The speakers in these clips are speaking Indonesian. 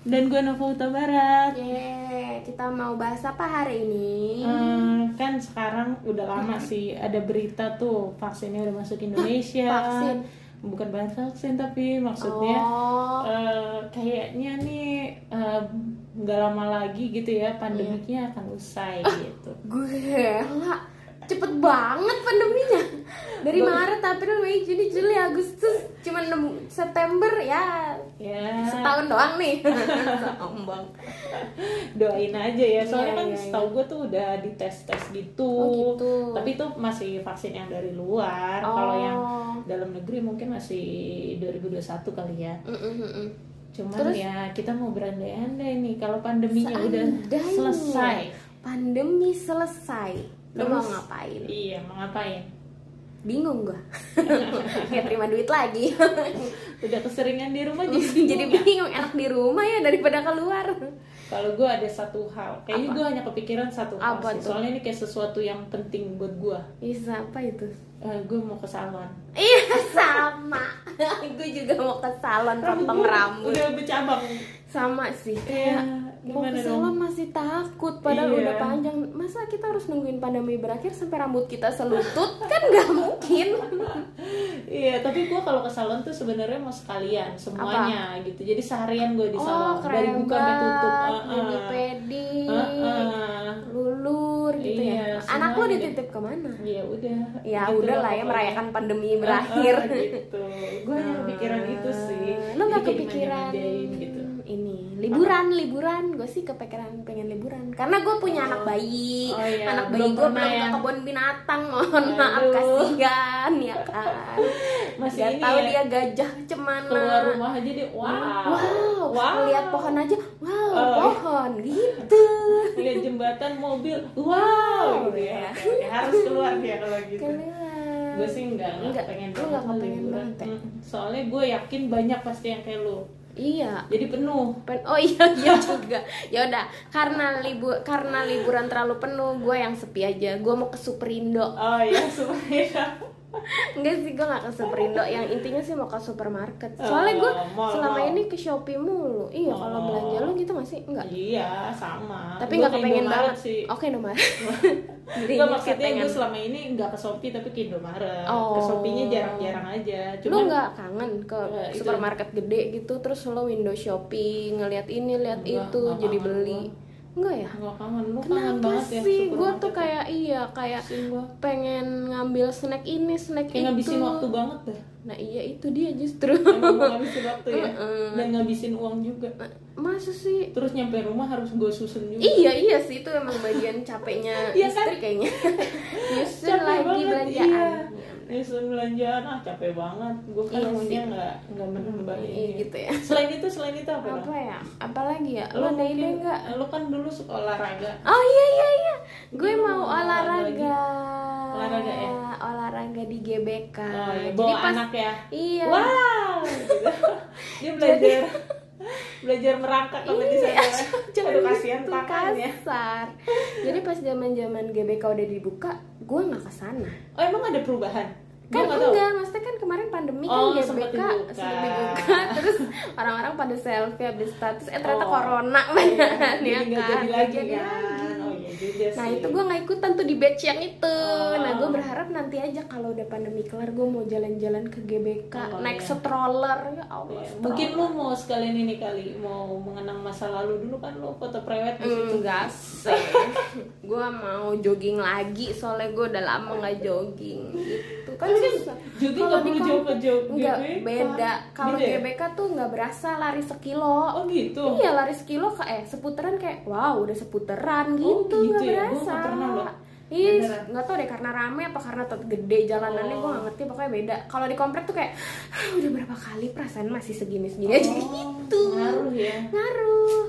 dan gue Nova Huta Barat. Yeay, kita mau bahas apa hari ini? Hmm, kan sekarang udah lama sih ada berita tuh vaksinnya udah masuk Indonesia. Vaksin. Bukan bahan vaksin tapi maksudnya oh, eh, kayaknya nih eh, nggak lama lagi gitu Iya. ya pandemiknya akan usai Ah. gitu. gue lah cepet banget pandeminya. Dari Maret, April, Mei, Juni, Juli, Agustus, cuman nem- September ya Ya setahun doang nih. Sombong. doain aja ya. Soalnya Iya, kan iya, setahu gue tuh udah dites tes gitu. Oh, gitu. Oh. Tapi itu masih vaksin yang dari luar. Kalau yang dalam negeri mungkin masih 2021 kali ya. Mm, mm, mm, mm. Cuman Terus? ya kita mau berandai-andai nih kalau pandeminya udah Seandainya. selesai. Pandemi selesai. Lu mau Terus? ngapain? Iya, mau ngapain? Bingung gua. Gak terima duit lagi. Udah keseringan di rumah jadi bingung Jadi ya? bingung enak di rumah ya daripada keluar. Kalau gue ada satu hal, kayaknya Apa? gue hanya kepikiran satu hal Apa sih. tuh? Soalnya ini kayak sesuatu yang penting buat gue. Iya, apa itu? gue mau ke salon. Iya, sama. gue juga mau ke salon potong gua rambut. Udah bercabang. Sama sih. Iya, Kayak mau gimana ke dong? salon masih takut padahal Iya. udah panjang. Masa kita harus nungguin pandemi berakhir sampai rambut kita selutut? kan nggak mungkin. Iya, tapi gue kalau ke salon tuh sebenarnya mau sekalian semuanya gitu. Jadi seharian gue di oh, salon dari keren buka sampai tutup. Ah, banget. Heeh. Mini pedi, Heeh. lulur gitu ah. Iya, ya. Anak lo semuanya. dititip kemana? Ya udah. Ya Gitu udah lah ya pokoknya. merayakan pandemi berakhir. Ah, gitu gue hanya kepikiran itu sih Lo nggak Jadi kayak kepikiran dimanja-manjain gitu ini liburan liburan gue sih kepikiran pengen liburan karena gue punya anak bayi Oh, iya. anak bayi Belum gue pernah belum ke ya. kebun binatang mohon Aduh. maaf kasihan ya kan Masih Nggak ini tahu ya. dia gajah cemana keluar rumah aja deh wow wow, wow lihat pohon aja wow Oh. pohon gitu lihat jembatan mobil wow gitu ya Iya. Oke, oke. harus keluar dia kalau gitu Keluar. gue sih nggak nggak Nggak, pengen lu banget nggak kepengen liburan banget ya? Mm, soalnya gue yakin banyak pasti yang kayak lu iya jadi penuh Pen- oh iya iya juga ya udah karena libu karena liburan terlalu penuh gue yang sepi aja gue mau ke Superindo oh iya semuanya enggak sih gue nggak ke Superindo yang intinya sih mau ke supermarket soalnya gue Oh, mall, selama mall. ini ke Shopee mulu iya kalau Oh. belanja lo gitu masih enggak iya sama tapi Gua nggak ke kepengen Indomaret banget sih oke nomor jadi Enggak maksudnya gue selama ini nggak ke Shopee tapi ke Indomaret. Ke Oh. Shopee-nya jarang-jarang aja. lo Cuma nggak kangen ke Nggak, itu- supermarket gede gitu terus lo window shopping ngeliat ini lihat Nggak, itu nggak jadi kangen beli enggak ya nggak kangen lu kangen Kenapa banget ya. sih? Gue supermarket. tuh kayak iya kayak Pusing gua. pengen ngambil snack ini snack itu. kayak ngabisin waktu banget dah. Nah iya itu dia justru. Emang gua ngabisin waktu ya. Heeh. Dan ngabisin uang juga. Masa sih? Terus nyampe rumah harus gue susun juga. Iya iya sih itu emang bagian capeknya Iya istri kayaknya. Justru Capek lagi banget, belanjaan. Iya. Nyusun belanjaan ah capek banget. Gue kan Iya orangnya sih. nggak nggak menambah Iya ini. gitu ya. Selain itu selain itu apa? Apa dong? ya? Apalagi ya? Lu Lo ada ide mungkin- nggak? Lu kan dulu suka olahraga. Oh iya iya iya. Gue Lu mau mau olahraga olahraga. Hmm, Olahraga ya? Olahraga di GBK. Oh, ya, Jadi bawa pas anak ya. Iya. Wow. Dia belajar belajar Iya, merangkak sama di sana. Aduh Iya, gitu, kasihan ya. ya. Itu tangannya. kasar. Jadi pas zaman-zaman GBK udah dibuka, gue nggak ke sana. Oh, emang ada perubahan? Kan Gua nggak tahu. enggak, maksudnya kan kemarin pandemi Oh, kan sempet GBK dibuka. sempet dibuka. Terus orang-orang pada selfie update status, eh ternyata Oh. Iya, corona beneran Jadi ya nggak kan. jadi lagi Jadi kan. lagi. Oh iya juga sih. Nah itu gue nggak ikutan tuh di batch yang itu Oh. Nah gue berharap nanti aja kalau udah pandemi kelar Gue mau jalan-jalan ke GBK Oh, Naik iya. stroller Ya Allah Iya, stroller. Mungkin lu mau sekalian ini kali mau mengenang masa lalu dulu kan lu foto prewed di situ. Enggak sih Gue mau jogging lagi Soalnya gue udah lama gak jogging gitu Kan susah Jogging Kalau nggak di perlu kampung- jauh ke jauh Enggak, GBK. beda Kalau gitu ya? Beda ya? GBK tuh gak berasa lari sekilo Oh gitu. Iya lari sekilo ke eh seputeran kayak wow udah seputeran Oh, gitu nggak gitu ya? Gua berasa. nggak pernah loh. Ih, Beneran. nggak tau deh karena rame apa karena tetap gede jalanannya Oh. gue nggak ngerti pokoknya beda. Kalau di komplek tuh kayak "Hah, udah berapa kali perasaan masih segini segini aja Oh, gitu. Ngaruh ya. Ngaruh.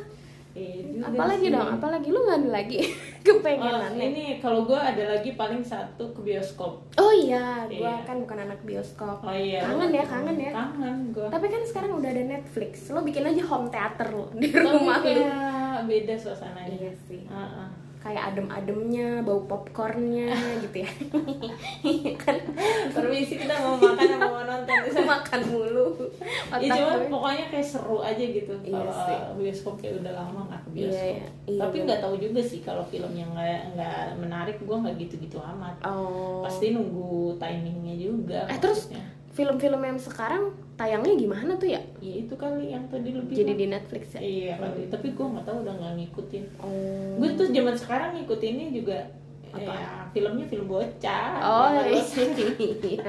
Iya juga Apalagi sih. dong, apalagi lu nggak ada lagi Oh, kepengenan. ini kalau gue ada lagi paling satu ke bioskop. Oh iya, gue Iya. kan bukan anak bioskop. Oh iya. Kangen ya, kangen ya. Kangen gue. Tapi kan sekarang udah ada Netflix, Oh, lo bikin aja home theater lo di rumah Tapi lu. kayak beda suasananya. Iya sih. Ah, ah. kayak adem-ademnya, bau popcornnya gitu ya. kan permisi kita mau makan sama mau nonton bisa makan mulu. Ya, Otak cuma gue. pokoknya kayak seru aja gitu Iya kalau sih. bioskop kayak udah lama nggak ke Iya, bioskop iya. Iya, tapi bener. nggak tahu juga sih kalau film yang nggak nggak menarik gue nggak gitu-gitu amat Oh. pasti nunggu timingnya juga Eh, terus? maksudnya. Film-film yang sekarang tayangnya gimana tuh ya? ya itu kali yang tadi lebih Jadi di Netflix ya? iya kali tapi gue nggak tahu udah nggak ngikutin Oh. gue tuh zaman sekarang ngikutinnya juga Apa? ya filmnya film bocah Oh, Nggak iya. terus.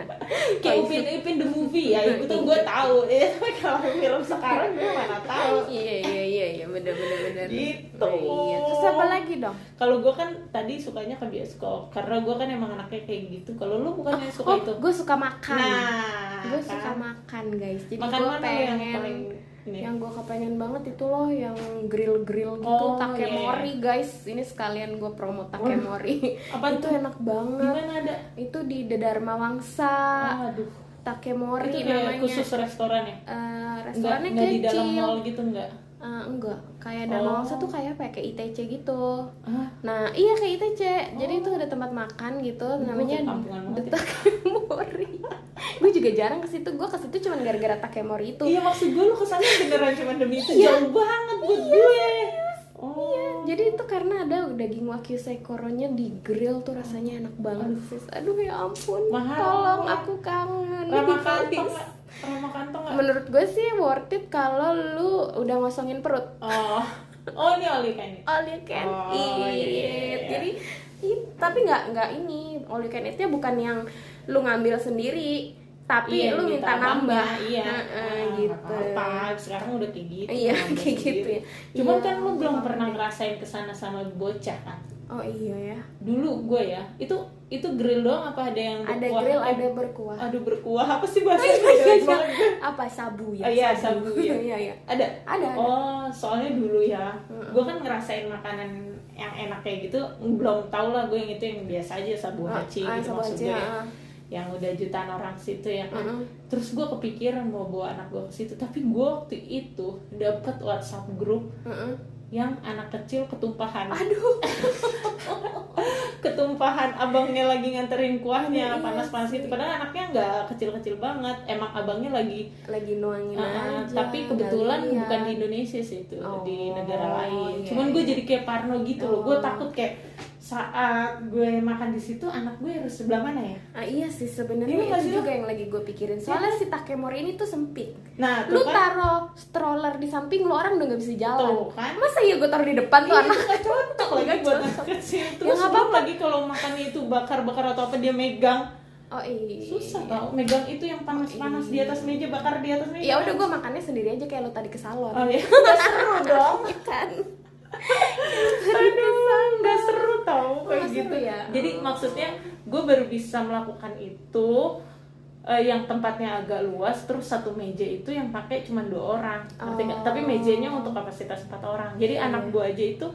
kayak Oh, upin upin the movie ya itu tuh gue tahu eh tapi kalau film sekarang gue mana tahu Iya iya iya iya bener bener bener. Gitu. Iya. Terus apa lagi dong? kalau gue kan tadi sukanya ke bioskop karena gue kan emang anaknya kayak gitu kalau lu bukan yang suka oh, itu gue suka makan. nah gue kan. suka makan guys. Jadi makan gue mana lu pengen yang paling ini yang gue kepengen banget itu loh yang grill grill gitu Oh, takemori guys ini sekalian gue promo takemori apa itu tuh enak banget gimana ada itu di The Dharma Wangsa aduh Oh. itu takemori kayak namanya khusus restoran ya Eh, Enggak, restorannya enggak di dalam kecil mall gitu enggak Eh, enggak kayak Dharma Oh. Wangsa tuh kayak apa ya, kayak ITC gitu ah Nah, iya kayak ITC. Jadi itu ada tempat makan gitu namanya kayak kampungan banget ya. The Takemori. gue juga jarang ke situ. Gue ke situ cuma gara-gara Takemori itu. Iya maksud gue lu kesana beneran cuma demi itu jauh banget buat gue. Oh. Jadi itu karena ada daging wagyu sekoronya di grill tuh rasanya enak banget sis. Aduh ya ampun. Mahal. Tolong aku kangen. Ramah Please. kantong nggak? Ramah kantong nggak? Menurut gue sih worth it kalau lu udah ngosongin perut. Oh. Oh ini oli kan ini. All you can eat. Oh, iya, iya, iya. Jadi i- tapi nggak nggak ini all you can eatnya bukan yang lu ngambil sendiri, tapi Iya, lu minta, nambah. Iya. Heeh, Ah, gitu. nggak Apa, sekarang udah kayak gitu. Iya, nambah kayak sendiri. gitu ya. Cuman Iya, kan lu belum nambah. pernah ngerasain kesana sama bocah kan. Oh iya ya. Dulu gue ya, itu itu grill doang apa ada yang Ada berkuah? grill, Eh, ada berkuah. Aduh berkuah apa sih bahasa iya, Inggris iya, iya. banget Apa sabu ya? Oh, iya, sabu, iya. iya, iya. Ada? Ada, ada. Oh, soalnya dulu ya, gue kan ngerasain makanan yang enak kayak gitu belum tau lah gue yang itu yang biasa aja sabu Ah, haji ah, gitu sabu maksud haji, gue ah, ya. Mm. ah. yang udah jutaan orang situ ya kan Mm-mm. terus gue kepikiran mau bawa anak gue ke situ tapi gue waktu itu dapet WhatsApp grup Heeh. yang anak kecil ketumpahan Aduh. ketumpahan abangnya lagi nganterin kuahnya Iya panas-panas sih. gitu padahal anaknya nggak kecil-kecil banget emang abangnya lagi Lagi nuangin Uh, aja. Iya. tapi kebetulan nggak liat. bukan di Indonesia sih itu Oh, di negara lain. iya, Cuman iya. gue jadi kayak parno gitu loh. Gue Oh. takut kayak saat gue makan di situ anak gue harus sebelah mana ya? Ah, iya sih Ini sebenarnya nggak sih, itu juga yang lagi gue pikirin. Iya, kan? Soalnya si takemori ini tuh sempit. Nah, lu tuh kan taruh stroller di samping lu orang udah nggak bisa jalan Tuh kan. masa iya gue taruh di depan tuh Iya, anak nggak cocok lagi Nggak buat cocok. anak kecil. gitu. Ya, Terus nggak belum lagi kalau makannya itu bakar-bakar atau apa dia megang oh iya susah tau. Megang itu yang panas-panas di atas meja bakar di atas meja. ya udah gue makannya sendiri aja kayak lu tadi ke salon Oh iya, nggak seru dong. Iya kan Aduh, nggak seru tau kayak Nggak seru gitu ya? Jadi Oh. maksudnya gue baru bisa melakukan itu eh, yang tempatnya agak luas, terus satu meja itu yang pakai cuma dua orang, Ngerti nggak? Oh. Tapi mejanya untuk kapasitas empat orang. Jadi Iya, anak iya. gue aja itu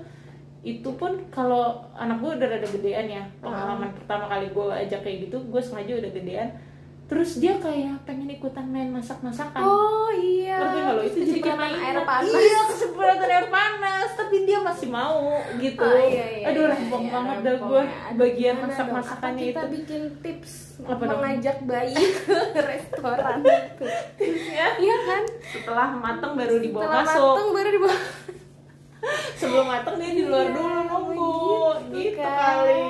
itu pun kalau anak gue udah rada gedean ya Oh. pengalaman pertama kali gue ajak kayak gitu gue sengaja udah gedean terus dia kayak pengen ikutan main masak-masakan oh iya ngerti nggak lo Ah. itu jadi kayak Kecepatan mainan. air panas Oh, iya kesemprotan air panas tapi dia masih mau gitu Oh, iya, iya, aduh iya, rempong iya, banget dah rempong gue ya. Aduh, bagian gimana masak dong? masakannya Apa itu kita bikin tips Apa dong? mengajak bayi ke restoran itu tipsnya iya kan setelah mateng baru dibawa Setelah masuk mateng baru dibawa sebelum mateng dia di luar Iya, dulu nunggu gitu, kan. kali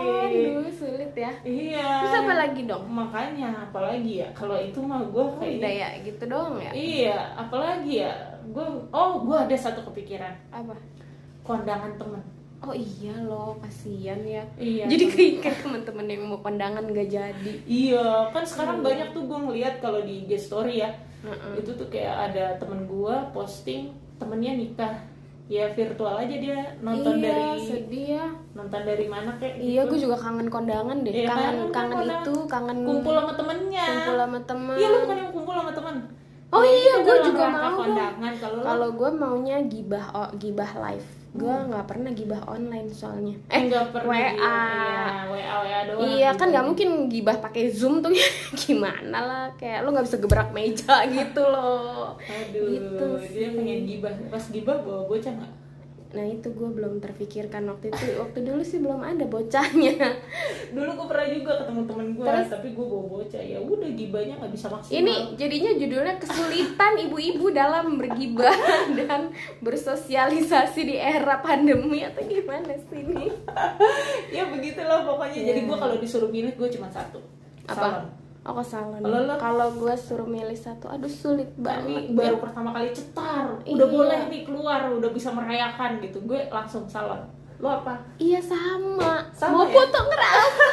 Aduh, sulit ya iya terus apa lagi dong makanya apalagi ya kalau itu mah gue kayak udah ya gitu doang ya iya apalagi ya gue oh gue ada satu kepikiran apa kondangan temen oh iya loh kasihan ya iya jadi keikat teman-teman yang mau kondangan gak jadi Iya, kan sekarang Hmm. banyak tuh gue ngeliat kalau di IG story ya, Mm-mm. itu tuh kayak ada temen gue posting temennya nikah, ya virtual aja dia nonton iya, dari sedih ya nonton dari mana kayak iya gue gitu. juga kangen kondangan deh Iya, kangen kangen kangen kondangan. itu kangen kumpul sama temennya. kumpul sama teman Iya lu bukan yang kumpul sama temen. Oh Nah, iya, itu gue dalam juga rangka mau dong. kondangan kalau lu- kalau gue maunya gibah oh, gibah live gue nggak pernah gibah online soalnya eh kan nggak pernah WA. di- iya, WA WA doang. gitu. Iya kan nggak mungkin gibah pakai zoom tuh gimana lah kayak lu nggak bisa gebrak meja gitu loh Aduh, Gitu sih. dia pengen gibah. Pas gibah bawa bocah nggak? Nah itu gue belum terpikirkan waktu itu Waktu dulu sih belum ada bocahnya dulu gue pernah juga ketemu temen gue Terus? tapi gue bawa bocah ya udah gibahnya nggak bisa maksimal Ini jadinya judulnya kesulitan ibu-ibu dalam bergibah Dan bersosialisasi di era pandemi Atau gimana sih ini ya begitulah pokoknya jadi gue kalau disuruh milih gue cuma satu Salon. Iya. Apa? Oh ke salon Kalau lo? Kalau gue suruh milih satu Aduh sulit banget Tapi baru pertama kali cetar udah Iya. boleh nih keluar udah bisa merayakan gitu gue langsung salon lo apa Iya sama, Sama Mau ya? foto ngerap